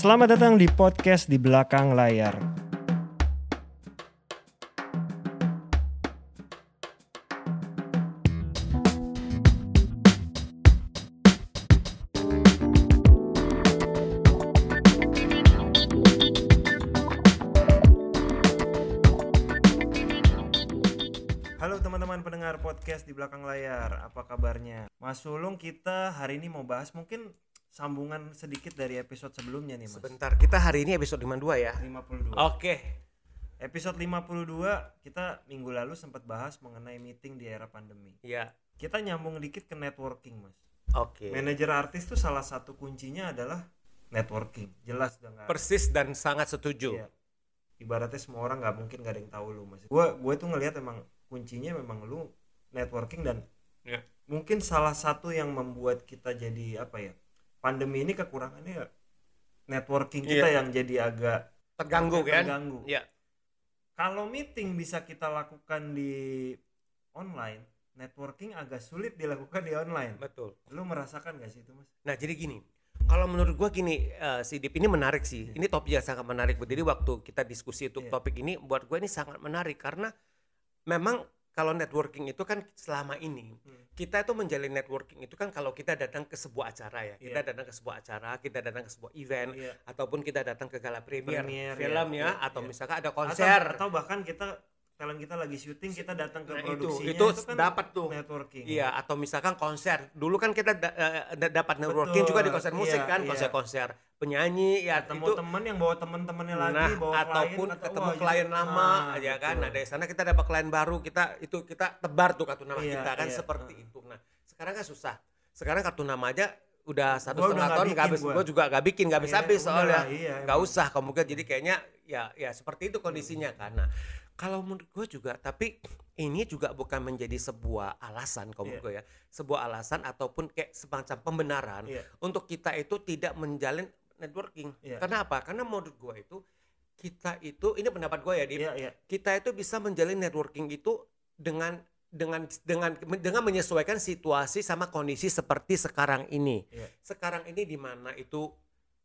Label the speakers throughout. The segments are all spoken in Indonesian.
Speaker 1: Selamat datang di podcast di belakang layar. Halo teman-teman pendengar podcast di belakang layar, apa kabarnya? Mas Sulung kita hari ini mau bahas mungkin sambungan sedikit dari episode sebelumnya nih Mas.
Speaker 2: Sebentar, kita hari ini episode 52 ya.
Speaker 1: 52.
Speaker 2: Iya, Oke.
Speaker 1: Episode 52 kita minggu lalu sempat bahas mengenai meeting di era pandemi.
Speaker 2: Iya.
Speaker 1: Kita nyambung dikit ke networking, Mas.
Speaker 2: Oke.
Speaker 1: Manajer artis tuh salah satu kuncinya adalah networking. Jelas dengan
Speaker 2: Persis dan sangat setuju.
Speaker 1: Iya. ibaratnya semua orang nggak mungkin gak ada yang tahu lu, Mas. Gua gue tuh ngelihat emang kuncinya memang lu networking dan
Speaker 2: Iya.
Speaker 1: mungkin salah satu yang membuat kita jadi apa ya? Pandemi ini kekurangannya networking kita yang jadi agak
Speaker 2: Terganggu Iya. kan?
Speaker 1: terganggu.
Speaker 2: Iya.
Speaker 1: Kalau meeting bisa kita lakukan di online, networking agak sulit dilakukan di online.
Speaker 2: Betul.
Speaker 1: Lu merasakan gak sih itu, Mas?
Speaker 2: Nah, jadi gini. Kalau menurut gua gini, eh, si Dip ini menarik sih. Ini topik yang sangat menarik. Jadi waktu kita diskusi untuk
Speaker 1: Iya.
Speaker 2: topik ini buat gua ini sangat menarik karena memang kalau networking itu kan selama ini
Speaker 1: Hmm.
Speaker 2: kita itu menjalin networking itu kan kalau kita datang ke sebuah acara ya. Kita datang ke sebuah acara, kita datang ke sebuah event
Speaker 1: Iya.
Speaker 2: ataupun kita datang ke gala premier,
Speaker 1: Premier,
Speaker 2: film
Speaker 1: iya,
Speaker 2: ya,
Speaker 1: iya,
Speaker 2: atau
Speaker 1: iya.
Speaker 2: misalkan ada
Speaker 1: Atau-
Speaker 2: konser.
Speaker 1: Atau, bahkan kita talent kita lagi syuting, kita datang ke
Speaker 2: Nah, itu-
Speaker 1: produksinya kan
Speaker 2: itu dapat tuh.
Speaker 1: networking.
Speaker 2: Iya, atau misalkan konser. Dulu kan kita da- eh, da- dapat networking
Speaker 1: Betul,
Speaker 2: juga di konser
Speaker 1: iya,
Speaker 2: musik kan,
Speaker 1: iya.
Speaker 2: konser-konser penyanyi ya
Speaker 1: Ketemu
Speaker 2: itu
Speaker 1: temen yang bawa temen-temennya
Speaker 2: nah
Speaker 1: lagi, bawa klien,
Speaker 2: ataupun
Speaker 1: kata,
Speaker 2: ketemu
Speaker 1: "Wah, ini-
Speaker 2: klien lama
Speaker 1: Nah,
Speaker 2: ya kan.
Speaker 1: betul.
Speaker 2: Nah, dari sana kita dapat klien baru, kita itu kita tebar tuh kartu nama
Speaker 1: Iya,
Speaker 2: kita kan
Speaker 1: iya,
Speaker 2: seperti
Speaker 1: heeh.
Speaker 2: itu. Nah, sekarang kan susah. Sekarang kartu nama aja udah satu
Speaker 1: Gua udah nggak
Speaker 2: setengah tahun nggak
Speaker 1: bikin
Speaker 2: habis
Speaker 1: gua.
Speaker 2: gua juga nggak bikin nggak habis
Speaker 1: Akhirnya
Speaker 2: habis
Speaker 1: udah
Speaker 2: soalnya
Speaker 1: lah, iya,
Speaker 2: nggak
Speaker 1: emang.
Speaker 2: usah kemungkinan jadi kayaknya ya ya seperti itu kondisinya karena kalau menurut gue juga tapi ini juga bukan menjadi sebuah alasan
Speaker 1: Iya.
Speaker 2: kalau menurut gue ya sebuah alasan ataupun kayak semacam pembenaran
Speaker 1: Iya.
Speaker 2: untuk kita itu tidak menjalin networking
Speaker 1: Iya.
Speaker 2: kenapa karena menurut gue itu kita itu ini pendapat gue ya di
Speaker 1: Iya, iya.
Speaker 2: kita itu bisa menjalin networking itu dengan dengan dengan dengan menyesuaikan situasi sama kondisi seperti sekarang ini.
Speaker 1: Iya.
Speaker 2: Sekarang ini di mana itu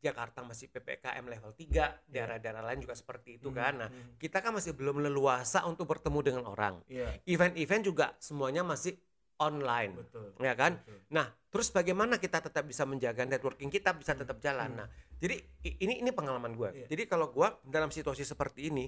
Speaker 2: Jakarta masih PPKM level 3, daerah-daerah lain juga seperti itu kan. Nah,
Speaker 1: Iya. Hmm,
Speaker 2: kita kan masih belum leluasa untuk bertemu dengan orang.
Speaker 1: Iya,
Speaker 2: Event-event juga semuanya masih online,
Speaker 1: betul.
Speaker 2: ya kan?
Speaker 1: betul.
Speaker 2: Nah, terus bagaimana kita tetap bisa menjaga networking kita bisa tetap jalan.
Speaker 1: Hmm.
Speaker 2: Nah, jadi i- ini ini pengalaman gue.
Speaker 1: Iya.
Speaker 2: Jadi kalau gue dalam situasi seperti ini,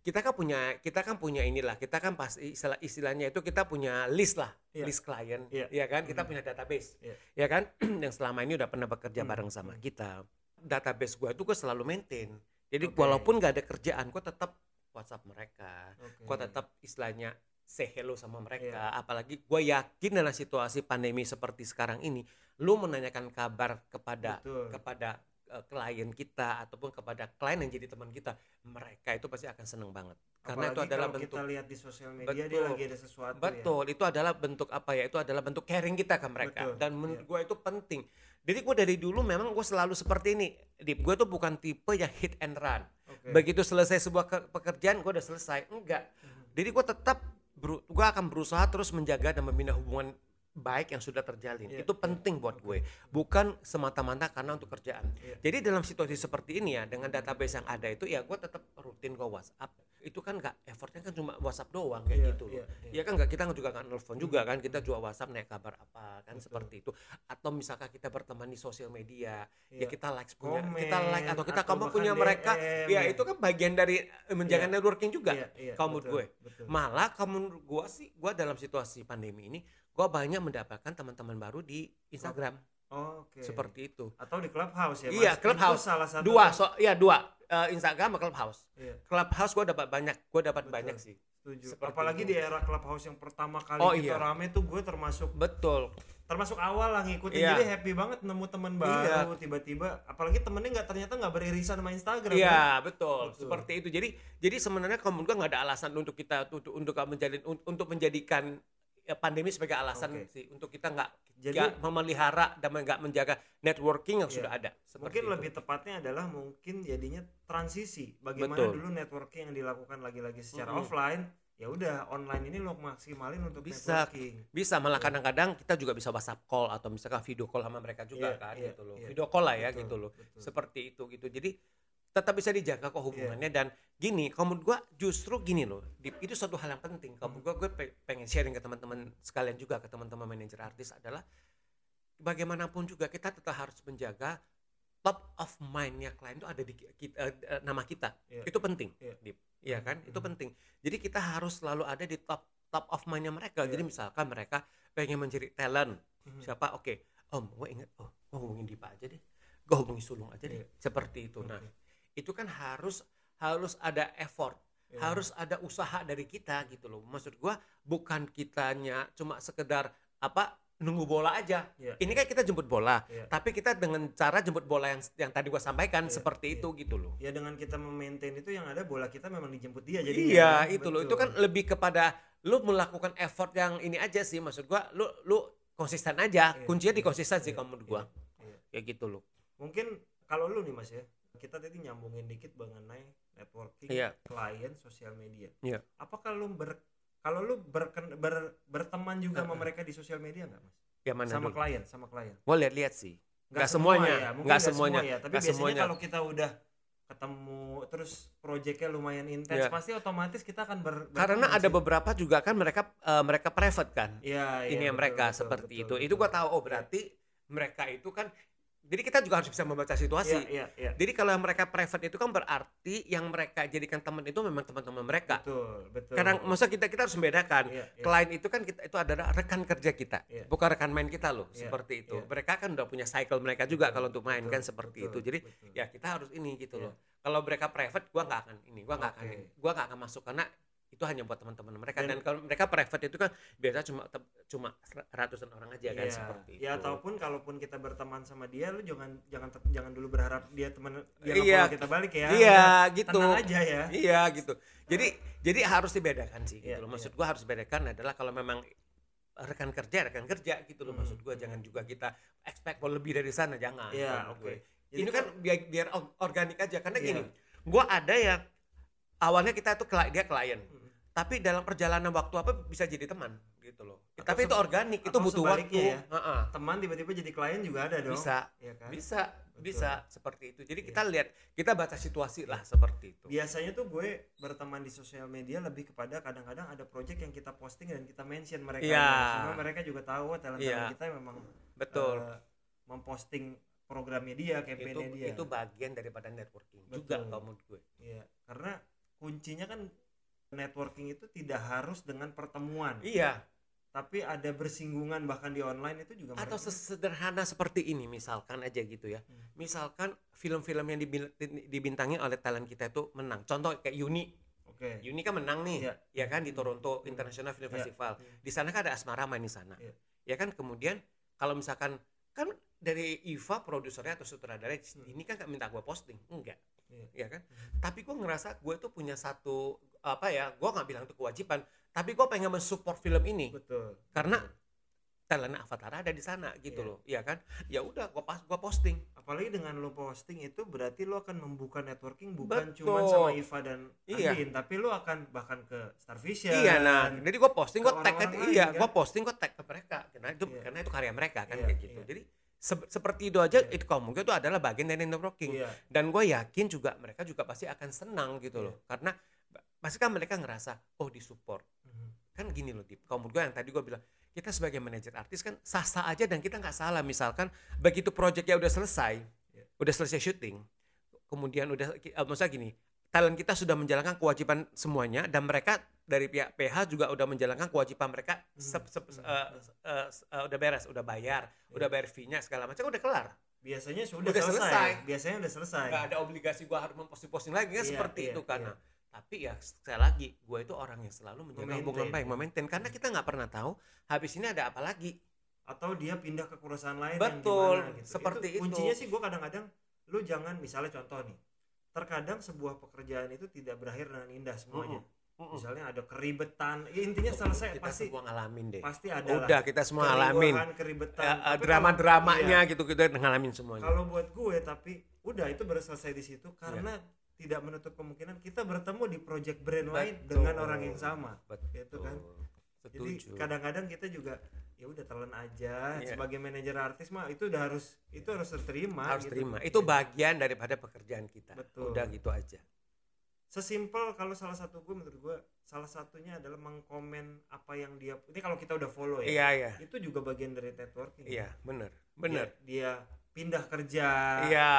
Speaker 2: kita kan punya kita kan punya inilah, kita kan pasti istilah, istilahnya itu kita punya list lah,
Speaker 1: Iya.
Speaker 2: list klien,
Speaker 1: Iya.
Speaker 2: ya kan? Kita
Speaker 1: Hmm.
Speaker 2: punya database,
Speaker 1: Iya.
Speaker 2: ya kan? Yang selama ini udah pernah bekerja
Speaker 1: Hmm.
Speaker 2: bareng sama kita. Database gue itu gue selalu maintain. Jadi
Speaker 1: Oke.
Speaker 2: walaupun gak ada kerjaan, gue tetap WhatsApp mereka,
Speaker 1: Oke.
Speaker 2: gue tetap istilahnya say hello sama mereka
Speaker 1: Iya.
Speaker 2: apalagi gue yakin dalam situasi pandemi seperti sekarang ini lu menanyakan kabar kepada
Speaker 1: Betul.
Speaker 2: kepada eh, klien kita ataupun kepada klien yang jadi teman kita mereka itu pasti akan seneng banget
Speaker 1: Iya.
Speaker 2: karena itu
Speaker 1: Apalagi
Speaker 2: adalah
Speaker 1: kalau
Speaker 2: bentuk
Speaker 1: kita lihat di sosial media dia
Speaker 2: Betul.
Speaker 1: lagi ada sesuatu ya.
Speaker 2: betul itu adalah bentuk apa ya itu adalah bentuk caring kita ke mereka
Speaker 1: Betul, Iya.
Speaker 2: dan menurut gue itu penting jadi gue dari dulu memang gue selalu seperti ini Dip gue tuh bukan tipe yang hit and run
Speaker 1: Oke.
Speaker 2: begitu selesai sebuah ke- pekerjaan gue udah selesai enggak
Speaker 1: Hmm.
Speaker 2: jadi gue tetap beru- gue akan berusaha terus menjaga dan membina hubungan baik yang sudah terjalin
Speaker 1: Iya,
Speaker 2: itu
Speaker 1: iya.
Speaker 2: penting buat gue bukan semata-mata karena untuk kerjaan
Speaker 1: Iya.
Speaker 2: jadi dalam situasi seperti ini ya dengan database yang ada itu ya gue tetap rutin gue WhatsApp itu kan nggak effortnya kan cuma WhatsApp doang kayak
Speaker 1: Iya,
Speaker 2: gitu loh
Speaker 1: iya, iya.
Speaker 2: ya kan nggak kita juga nggak nelfon juga kan kita juga WhatsApp naik kabar apa kan seperti itu atau misalkan kita berteman di sosial media
Speaker 1: Iya.
Speaker 2: ya kita like punya
Speaker 1: Komen,
Speaker 2: kita like atau kita
Speaker 1: atau
Speaker 2: kamu
Speaker 1: bahkan
Speaker 2: punya mereka
Speaker 1: DM, ya.
Speaker 2: ya itu kan bagian dari eh, menjaga
Speaker 1: Iya.
Speaker 2: networking juga
Speaker 1: Iya, iya,
Speaker 2: kalau menurut
Speaker 1: betul,
Speaker 2: gue.
Speaker 1: betul.
Speaker 2: Malah kalau menurut gua sih, gua dalam situasi pandemi ini, gua banyak mendapatkan teman-teman baru di Instagram
Speaker 1: Oke.
Speaker 2: seperti itu.
Speaker 1: atau di clubhouse ya Mas?
Speaker 2: Iya,
Speaker 1: Itu
Speaker 2: Clubhouse.
Speaker 1: salah satu
Speaker 2: Dua, so, ya dua, Eh, Instagram sama Clubhouse.
Speaker 1: Iya,
Speaker 2: Clubhouse gua dapat banyak, gua dapat
Speaker 1: Betul.
Speaker 2: banyak sih.
Speaker 1: setuju.
Speaker 2: Seperti
Speaker 1: Apalagi
Speaker 2: itu.
Speaker 1: di era clubhouse yang pertama kali
Speaker 2: Oh,
Speaker 1: kita
Speaker 2: iya.
Speaker 1: rame tuh gue termasuk
Speaker 2: Betul.
Speaker 1: termasuk awal lah ngikutin
Speaker 2: Iya.
Speaker 1: jadi happy banget nemu teman baru tiba-tiba apalagi temennya nggak ternyata nggak beririsan sama Instagram kan?
Speaker 2: Iya, betul.
Speaker 1: Betul.
Speaker 2: Seperti itu. Jadi jadi sebenarnya kalau menurut gua nggak ada alasan untuk kita untuk untuk menjadi untuk menjadikan ya, pandemi sebagai alasan
Speaker 1: Oke.
Speaker 2: sih untuk kita nggak
Speaker 1: Jadi-
Speaker 2: nggak memelihara dan nggak menjaga networking yang
Speaker 1: Iya.
Speaker 2: sudah ada. Seperti
Speaker 1: mungkin
Speaker 2: itu.
Speaker 1: lebih tepatnya adalah mungkin jadinya transisi bagaimana
Speaker 2: Betul.
Speaker 1: dulu networking yang dilakukan lagi-lagi secara
Speaker 2: Mm-mm.
Speaker 1: offline ya udah online ini lo maksimalin untuk
Speaker 2: Bisa.
Speaker 1: networking
Speaker 2: bisa malah kadang-kadang kita juga bisa whatsapp call atau misalkan video call sama mereka juga
Speaker 1: Iya,
Speaker 2: kan
Speaker 1: iya,
Speaker 2: gitu loh
Speaker 1: iya.
Speaker 2: video call lah ya
Speaker 1: Betul,
Speaker 2: gitu loh
Speaker 1: betul.
Speaker 2: seperti itu gitu jadi tetap bisa dijaga kok hubungannya dan gini kalau menurut gua justru gini loh Dip, itu suatu hal yang penting kalau menurut gua gue pe- pengen sharing ke teman-teman sekalian juga ke teman-teman manajer artis adalah bagaimanapun juga kita tetap harus menjaga top of mindnya klien itu ada di ki- ki- eh, eh, nama kita
Speaker 1: Iya.
Speaker 2: itu penting
Speaker 1: Iya.
Speaker 2: Dip. Iya kan itu
Speaker 1: Mhm.
Speaker 2: penting jadi kita harus selalu ada di top top of mindnya mereka
Speaker 1: Iya.
Speaker 2: jadi misalkan mereka pengen menjadi talent
Speaker 1: Mhm.
Speaker 2: siapa oke om gue inget oh gue hubungin Dipa aja deh gue hubungin Sulung aja deh
Speaker 1: Iya.
Speaker 2: seperti itu nah
Speaker 1: Oke.
Speaker 2: itu kan harus harus ada effort
Speaker 1: Iya.
Speaker 2: harus ada usaha dari kita gitu loh maksud gua bukan kitanya cuma sekedar apa nunggu bola aja
Speaker 1: Iya.
Speaker 2: ini kan kita jemput bola
Speaker 1: Iya.
Speaker 2: tapi kita dengan cara jemput bola yang yang tadi gua sampaikan
Speaker 1: Iya,
Speaker 2: seperti
Speaker 1: iya.
Speaker 2: itu gitu loh
Speaker 1: ya dengan kita memaintain itu yang ada bola kita memang dijemput dia jadi
Speaker 2: iya itu loh itu kan lebih kepada lu melakukan effort yang ini aja sih maksud gua lu lu konsisten aja
Speaker 1: Iya,
Speaker 2: kuncinya di
Speaker 1: iya,
Speaker 2: konsisten sih
Speaker 1: iya,
Speaker 2: kalau menurut gua
Speaker 1: iya, iya.
Speaker 2: kayak gitu loh
Speaker 1: mungkin kalau lu nih mas ya kita tadi nyambungin dikit mengenai networking
Speaker 2: Iya.
Speaker 1: klien sosial media
Speaker 2: Iya.
Speaker 1: apakah lu ber kalau lu berken, ber- berteman juga sama
Speaker 2: Uh-uh.
Speaker 1: mereka di sosial media nggak mas
Speaker 2: yang mana
Speaker 1: sama
Speaker 2: dulu
Speaker 1: klien sama klien
Speaker 2: gua lihat-lihat sih
Speaker 1: Nggak
Speaker 2: Nggak semuanya,
Speaker 1: semua ya, mungkin
Speaker 2: nggak
Speaker 1: nggak semua
Speaker 2: semuanya,
Speaker 1: ya, tapi
Speaker 2: nggak
Speaker 1: biasanya
Speaker 2: semuanya.
Speaker 1: kalau kita udah ketemu terus proyeknya lumayan intens
Speaker 2: Iya.
Speaker 1: pasti otomatis kita akan ber, berteman
Speaker 2: karena ada
Speaker 1: sih.
Speaker 2: beberapa juga kan mereka eh, mereka private kan
Speaker 1: Iya, iya,
Speaker 2: ini yang
Speaker 1: betul,
Speaker 2: mereka
Speaker 1: betul,
Speaker 2: seperti
Speaker 1: betul,
Speaker 2: itu itu
Speaker 1: betul. Iya.
Speaker 2: gua tahu oh berarti mereka itu kan jadi kita juga harus bisa membaca situasi
Speaker 1: Iya, iya, iya.
Speaker 2: jadi kalau yang mereka private itu kan berarti yang mereka jadikan teman itu memang teman-teman mereka
Speaker 1: Betul, betul.
Speaker 2: kadang
Speaker 1: betul.
Speaker 2: masa kita kita harus membedakan
Speaker 1: Iya, iya.
Speaker 2: klien itu kan kita itu adalah rekan kerja kita
Speaker 1: Iya.
Speaker 2: bukan rekan main kita loh
Speaker 1: Iya,
Speaker 2: seperti itu
Speaker 1: iya.
Speaker 2: mereka kan udah punya cycle mereka juga
Speaker 1: Betul,
Speaker 2: kalau untuk main
Speaker 1: betul,
Speaker 2: kan seperti
Speaker 1: betul,
Speaker 2: itu jadi
Speaker 1: betul.
Speaker 2: ya kita harus ini gitu
Speaker 1: Iya.
Speaker 2: loh kalau mereka private gua nggak akan ini gua nggak
Speaker 1: Oke.
Speaker 2: akan ini, gua nggak akan masuk karena itu hanya buat teman-teman mereka
Speaker 1: Dan-
Speaker 2: dan, kalau mereka private itu kan biasa cuma te- cuma ratusan orang aja kan
Speaker 1: Iya.
Speaker 2: seperti itu
Speaker 1: Ya ataupun kalaupun kita berteman sama dia lu jangan jangan te- jangan dulu berharap dia teman dia
Speaker 2: Iya.
Speaker 1: nge-follow kita balik ya.
Speaker 2: iya
Speaker 1: Udah,
Speaker 2: gitu
Speaker 1: Tenang aja ya.
Speaker 2: iya gitu jadi jadi harus dibedakan sih gitu
Speaker 1: Iya,
Speaker 2: loh maksud gua harus bedakan adalah kalau memang rekan kerja rekan kerja gitu loh
Speaker 1: Hmm,
Speaker 2: maksud gua jangan juga kita expect mau lebih dari sana jangan
Speaker 1: Iya,
Speaker 2: menurut
Speaker 1: oke.
Speaker 2: Nah, gue.
Speaker 1: Jadi
Speaker 2: ini kan biar, biar or- organik aja karena
Speaker 1: Iya.
Speaker 2: gini gua ada yang awalnya kita tuh kli- dia klien
Speaker 1: Mm.
Speaker 2: tapi dalam perjalanan waktu apa bisa jadi teman gitu loh
Speaker 1: Atau
Speaker 2: tapi itu
Speaker 1: seba-
Speaker 2: organik itu
Speaker 1: atau
Speaker 2: butuh
Speaker 1: sebaliknya
Speaker 2: waktu
Speaker 1: ya.
Speaker 2: Heeh.
Speaker 1: teman tiba-tiba jadi klien juga ada dong.
Speaker 2: kan bisa
Speaker 1: Iya kan?
Speaker 2: bisa
Speaker 1: Betul.
Speaker 2: bisa seperti itu jadi
Speaker 1: Iya.
Speaker 2: kita lihat kita baca situasi lah seperti itu
Speaker 1: Biasanya tuh gue berteman di sosial media lebih kepada kadang-kadang ada project yang kita posting dan kita mention mereka.
Speaker 2: Iya.
Speaker 1: Semua mereka juga tahu talent
Speaker 2: Iya.
Speaker 1: kita memang
Speaker 2: betul
Speaker 1: eh, memposting programnya dia,
Speaker 2: itu
Speaker 1: campaignnya dia.
Speaker 2: itu bagian daripada networking juga
Speaker 1: Betul.
Speaker 2: kalau menurut gue
Speaker 1: Iya, karena kuncinya kan networking itu tidak harus dengan pertemuan,
Speaker 2: iya
Speaker 1: tapi ada bersinggungan bahkan di online itu juga
Speaker 2: atau
Speaker 1: mereka-
Speaker 2: sesederhana seperti ini misalkan aja gitu ya
Speaker 1: Hmm.
Speaker 2: misalkan film-film yang dibil- dibintangi oleh talent kita itu menang contoh kayak Uni
Speaker 1: Oke.
Speaker 2: Uni kan menang nih
Speaker 1: Iya.
Speaker 2: ya kan di Toronto
Speaker 1: Hmm.
Speaker 2: International Film
Speaker 1: Iya.
Speaker 2: Festival
Speaker 1: Iya.
Speaker 2: di sana kan ada asmara main di sana
Speaker 1: Iya.
Speaker 2: ya kan kemudian kalau misalkan kan dari Iva produsernya atau sutradaranya
Speaker 1: Hmm.
Speaker 2: ini kan nggak minta gue posting enggak
Speaker 1: Iya.
Speaker 2: ya kan tapi gue ngerasa gue tuh punya satu apa ya gue nggak bilang itu kewajiban tapi gue pengen mensupport film ini
Speaker 1: Betul.
Speaker 2: karena talent Avatar ada di sana gitu
Speaker 1: Iya.
Speaker 2: loh ya kan ya udah gue pas gue posting
Speaker 1: apalagi dengan lo posting itu berarti lo akan membuka networking bukan
Speaker 2: Betul.
Speaker 1: cuma sama Iva dan
Speaker 2: Iya.
Speaker 1: Andin, tapi lo akan bahkan ke Starvision.
Speaker 2: iya nah jadi gue posting gue
Speaker 1: Ke
Speaker 2: tag
Speaker 1: orang-orang
Speaker 2: aja
Speaker 1: lain,
Speaker 2: iya
Speaker 1: kan?
Speaker 2: gue posting gue tag ke mereka karena itu
Speaker 1: Iya.
Speaker 2: karena itu karya mereka kan
Speaker 1: Iya,
Speaker 2: kayak gitu
Speaker 1: iya.
Speaker 2: jadi se- seperti itu aja
Speaker 1: Iya.
Speaker 2: itu kalau mungkin itu adalah bagian dari networking
Speaker 1: Iya.
Speaker 2: dan gue yakin juga mereka juga pasti akan senang gitu
Speaker 1: Iya.
Speaker 2: loh karena pasti kan mereka ngerasa oh disupport
Speaker 1: Mhm.
Speaker 2: kan gini loh Dip, kalau menurut gue yang tadi gue bilang kita sebagai manajer artis kan sah-sah aja dan kita nggak salah misalkan begitu proyeknya udah selesai
Speaker 1: Iya.
Speaker 2: udah selesai syuting kemudian udah eh, maksudnya gini talent kita sudah menjalankan kewajiban semuanya dan mereka dari pihak PH juga udah menjalankan kewajiban mereka sep- sep-
Speaker 1: Hmm.
Speaker 2: eh, eh, eh, udah beres udah bayar
Speaker 1: Iya.
Speaker 2: udah bayar fee-nya segala macam udah kelar
Speaker 1: Biasanya sudah
Speaker 2: Udah
Speaker 1: selesai.
Speaker 2: selesai.
Speaker 1: Biasanya udah selesai.
Speaker 2: nggak ada obligasi gue harus memposting-posting lagi kan
Speaker 1: Iya,
Speaker 2: seperti
Speaker 1: iya,
Speaker 2: itu karena
Speaker 1: iya.
Speaker 2: tapi ya sekali lagi gue itu orang yang selalu menjaga
Speaker 1: Memaintain.
Speaker 2: hubungan baik memaintain karena kita nggak pernah tahu habis ini ada apa lagi
Speaker 1: Atau dia pindah ke perusahaan lain
Speaker 2: Betul,
Speaker 1: yang dimana, gitu.
Speaker 2: seperti itu.
Speaker 1: Kuncinya sih gue kadang-kadang lu jangan misalnya contoh nih. Terkadang sebuah pekerjaan itu tidak berakhir dengan indah semuanya. Hmm. Misalnya ada keribetan, ya, intinya selesai
Speaker 2: kita
Speaker 1: pasti
Speaker 2: semua ngalamin deh
Speaker 1: pasti ada lah.
Speaker 2: udah kita semua ngalamin
Speaker 1: Keriuhan, keribetan.
Speaker 2: Eh, eh,
Speaker 1: Tapi Iya.
Speaker 2: drama-dramanya gitu kita ngalamin
Speaker 1: kalau-
Speaker 2: semuanya
Speaker 1: Kalau buat gue tapi udah itu baru selesai di situ karena tidak menutup kemungkinan kita bertemu di project brand lain
Speaker 2: Iya. Betul.
Speaker 1: dengan orang yang sama
Speaker 2: Betul.
Speaker 1: Gitu kan. jadi
Speaker 2: Setuju.
Speaker 1: kadang-kadang kita juga ya udah telan aja
Speaker 2: Iya.
Speaker 1: sebagai manajer artis mah itu udah harus itu harus terima
Speaker 2: harus
Speaker 1: gitu.
Speaker 2: terima. Itu bagian daripada pekerjaan kita.
Speaker 1: Betul.
Speaker 2: Udah gitu aja.
Speaker 1: sesimpel kalau salah satu gue menurut gue salah satunya adalah mengkomen apa yang dia ini kalau kita udah follow ya
Speaker 2: Iya, iya.
Speaker 1: itu juga bagian dari networking
Speaker 2: Iya, benar. Benar.
Speaker 1: dia, dia pindah kerja
Speaker 2: Iya.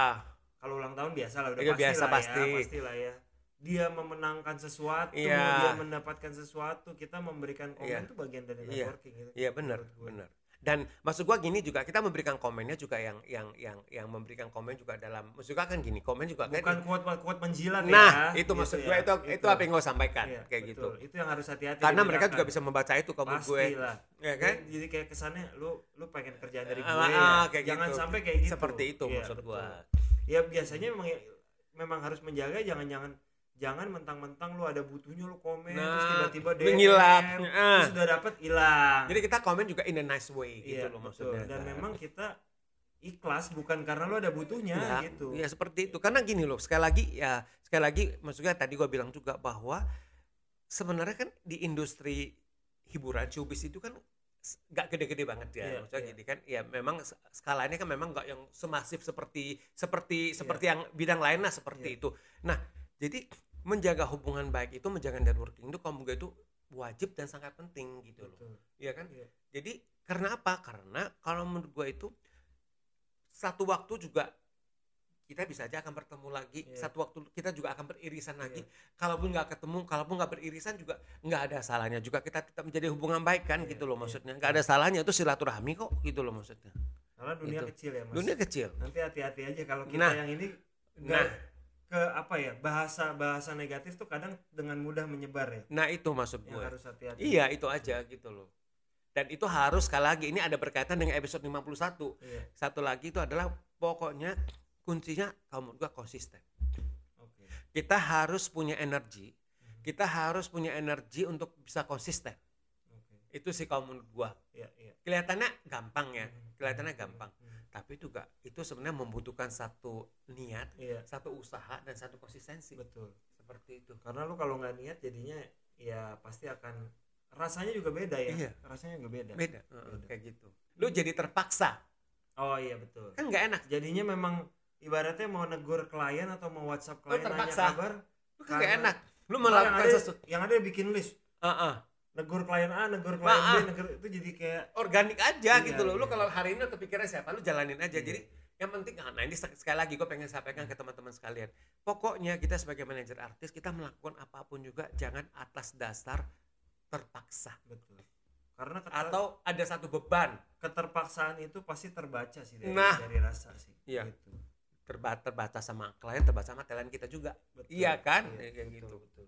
Speaker 1: kalau ulang tahun biasa lah udah
Speaker 2: Iya,
Speaker 1: pasti
Speaker 2: biasa,
Speaker 1: lah
Speaker 2: pasti.
Speaker 1: ya pasti lah ya dia memenangkan sesuatu
Speaker 2: Iya.
Speaker 1: dia mendapatkan sesuatu kita memberikan komen
Speaker 2: Iya.
Speaker 1: itu bagian dari
Speaker 2: Iya.
Speaker 1: networking gitu.
Speaker 2: Iya, benar.
Speaker 1: Menurut gue.
Speaker 2: Benar. Dan maksud gua gini juga kita memberikan komennya juga yang yang yang yang memberikan komen juga dalam maksud gua kan gini, komen juga kan
Speaker 1: bukan kuat kuat menjilat ya
Speaker 2: Nah, itu
Speaker 1: gitu
Speaker 2: maksud
Speaker 1: ya,
Speaker 2: gue itu itu
Speaker 1: gitu.
Speaker 2: apa yang gue sampaikan
Speaker 1: Iya,
Speaker 2: kayak gitu.
Speaker 1: betul. itu yang harus hati-hati
Speaker 2: Karena mereka juga
Speaker 1: dibedakan.
Speaker 2: bisa membaca itu ke mood gue.
Speaker 1: Pastilah.
Speaker 2: Ya kan?
Speaker 1: Jadi- jadi kayak kesannya lu lu pengen kerjaan dari gue
Speaker 2: Ah,
Speaker 1: ya.
Speaker 2: ah, kayak
Speaker 1: jangan
Speaker 2: gitu.
Speaker 1: sampai kayak gitu
Speaker 2: Seperti itu
Speaker 1: Iya,
Speaker 2: maksud
Speaker 1: betul.
Speaker 2: gua.
Speaker 1: ya biasanya memang memang harus menjaga jangan jangan jangan mentang-mentang lu ada butuhnya lu komen terus
Speaker 2: Nah,
Speaker 1: tiba-tiba DM,
Speaker 2: menghilang. Ah.
Speaker 1: terus udah dapet hilang
Speaker 2: Jadi kita komen juga in a nice way gitu
Speaker 1: Iya,
Speaker 2: loh
Speaker 1: betul.
Speaker 2: maksudnya.
Speaker 1: dan
Speaker 2: kan.
Speaker 1: memang kita ikhlas bukan karena lu ada butuhnya
Speaker 2: ya,
Speaker 1: gitu
Speaker 2: ya seperti itu. Karena gini loh, sekali lagi ya sekali lagi maksudnya tadi gua bilang juga bahwa sebenarnya kan di industri hiburan showbiz itu kan s- nggak gede-gede banget ya
Speaker 1: Iya,
Speaker 2: maksudnya
Speaker 1: iya.
Speaker 2: gini kan ya memang s- skalanya kan memang nggak yang semasif seperti seperti seperti yang bidang lain lah seperti
Speaker 1: Iya.
Speaker 2: itu nah jadi menjaga hubungan baik itu menjaga networking itu kamu itu wajib dan sangat penting gitu loh
Speaker 1: Betul.
Speaker 2: Iya kan?
Speaker 1: Iya.
Speaker 2: Jadi karena apa? Karena kalau menurut gue itu satu waktu juga kita bisa aja akan bertemu lagi.
Speaker 1: Iya.
Speaker 2: Satu waktu kita juga akan beririsan lagi. Kalaupun nggak ketemu, kalaupun nggak beririsan juga nggak ada salahnya juga kita tetap menjadi hubungan baik kan
Speaker 1: Iya,
Speaker 2: gitu loh
Speaker 1: iya.
Speaker 2: maksudnya. Nggak ada salahnya itu silaturahmi kok gitu loh maksudnya.
Speaker 1: karena dunia
Speaker 2: Gitu.
Speaker 1: kecil ya mas
Speaker 2: Dunia kecil.
Speaker 1: nanti hati-hati aja kalau kita
Speaker 2: Nah.
Speaker 1: yang ini
Speaker 2: Nah,
Speaker 1: nggak ke apa ya bahasa bahasa negatif tuh kadang dengan mudah menyebar ya
Speaker 2: nah itu maksud
Speaker 1: yang
Speaker 2: gue.
Speaker 1: harus hati-hati
Speaker 2: Iya, itu aja gitu loh. Dan itu harus sekali lagi ini ada berkaitan dengan episode 51.
Speaker 1: Iya,
Speaker 2: Satu lagi itu adalah pokoknya kuncinya kamu juga konsisten.
Speaker 1: oke.
Speaker 2: Kita harus punya energi. Kita harus punya energi untuk bisa konsisten.
Speaker 1: Oke.
Speaker 2: Itu sih kalau menurut gua.
Speaker 1: Iya, iya.
Speaker 2: Kelihatannya gampang ya, kelihatannya gampang.
Speaker 1: Hmm.
Speaker 2: Tapi juga itu sebenarnya membutuhkan satu niat,
Speaker 1: Iya,
Speaker 2: satu usaha dan satu konsistensi.
Speaker 1: betul.
Speaker 2: Seperti itu.
Speaker 1: Karena lu kalau nggak niat jadinya ya pasti akan rasanya juga beda ya.
Speaker 2: Iya.
Speaker 1: Rasanya juga beda.
Speaker 2: Beda, Heeh, kayak gitu. Lu jadi terpaksa.
Speaker 1: Oh iya betul.
Speaker 2: Kan nggak enak.
Speaker 1: Jadinya memang ibaratnya mau negur klien atau mau WhatsApp klien nanya
Speaker 2: terpaksa.
Speaker 1: kabar,
Speaker 2: Lu kan nggak
Speaker 1: Karena-
Speaker 2: enak. Lu
Speaker 1: malah yang
Speaker 2: melakukan
Speaker 1: ada,
Speaker 2: sesuatu.
Speaker 1: yang ada bikin list,
Speaker 2: Heeh.
Speaker 1: negur klien A, negur klien B,
Speaker 2: Maaf.
Speaker 1: negur itu jadi kayak
Speaker 2: organik aja
Speaker 1: Iya,
Speaker 2: gitu loh. Lu
Speaker 1: iya.
Speaker 2: kalau hari ini lu kepikiran siapa, lu jalanin aja.
Speaker 1: Iya.
Speaker 2: Jadi yang penting, ah, nah ini sek- sekali lagi gue pengen sampaikan ke teman-teman sekalian. Pokoknya kita sebagai manajer artis, kita melakukan apapun juga jangan atas dasar terpaksa.
Speaker 1: betul. Karena keter-
Speaker 2: Atau ada satu beban
Speaker 1: keterpaksaan itu pasti terbaca sih dari,
Speaker 2: Nah.
Speaker 1: dari rasa sih.
Speaker 2: Iya.
Speaker 1: Gitu.
Speaker 2: terba terbaca sama klien, terbaca sama talent kita juga.
Speaker 1: Betul.
Speaker 2: Iya kan?
Speaker 1: Iya,
Speaker 2: Kayak
Speaker 1: betul,
Speaker 2: gitu.
Speaker 1: betul.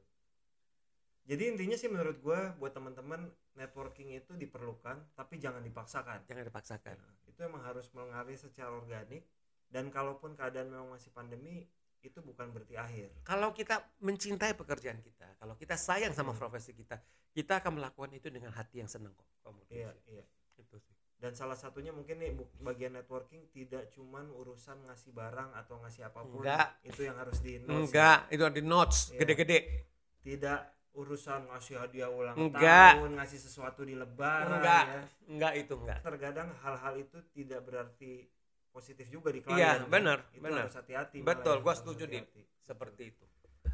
Speaker 1: Jadi intinya sih menurut gue buat teman-teman networking itu diperlukan tapi jangan dipaksakan.
Speaker 2: Jangan dipaksakan.
Speaker 1: Nah, Itu emang harus mengalir secara organik dan kalaupun keadaan memang masih pandemi itu bukan berarti akhir.
Speaker 2: Kalau kita mencintai pekerjaan kita, kalau kita sayang sama
Speaker 1: Hmm.
Speaker 2: profesi kita, kita akan melakukan itu dengan hati yang senang kok. Om Rudy.
Speaker 1: Iya, iya.
Speaker 2: Gitu sih.
Speaker 1: Dan salah satunya mungkin nih bu- bagian networking tidak cuman urusan ngasih barang atau ngasih apapun.
Speaker 2: Enggak.
Speaker 1: Itu yang harus di
Speaker 2: Enggak, itu ada di
Speaker 1: ya.
Speaker 2: notes
Speaker 1: Iya.
Speaker 2: gede-gede.
Speaker 1: Tidak urusan ngasih hadiah ulang
Speaker 2: Enggak.
Speaker 1: tahun, ngasih sesuatu di lebaran
Speaker 2: Enggak.
Speaker 1: ya.
Speaker 2: Enggak itu enggak.
Speaker 1: terkadang hal-hal itu tidak berarti positif juga di klien. kan?
Speaker 2: Iya, benar,
Speaker 1: Itu
Speaker 2: benar.
Speaker 1: harus hati-hati. malah
Speaker 2: Betul,
Speaker 1: ya,
Speaker 2: gua
Speaker 1: harus
Speaker 2: setuju, Dim.
Speaker 1: hati-hati.
Speaker 2: Seperti itu.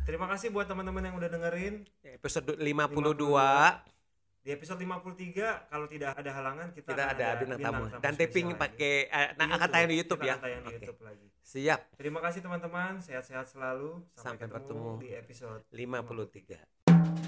Speaker 1: Terima kasih buat teman-teman yang udah dengerin
Speaker 2: Ya, Episode 52,
Speaker 1: 52. di episode 53 kalau tidak Nah, ada halangan kita
Speaker 2: tidak
Speaker 1: akan
Speaker 2: ada bintang tamu dan
Speaker 1: spesial
Speaker 2: taping
Speaker 1: lagi.
Speaker 2: pakai eh,
Speaker 1: Di
Speaker 2: nah, akan tayang di YouTube
Speaker 1: Kita
Speaker 2: ya.
Speaker 1: akan tayang di
Speaker 2: Oke.
Speaker 1: YouTube lagi.
Speaker 2: Siap
Speaker 1: Terima kasih teman-teman, sehat-sehat selalu. Sampai,
Speaker 2: Sampai
Speaker 1: ketemu
Speaker 2: bertemu.
Speaker 1: di episode
Speaker 2: 53.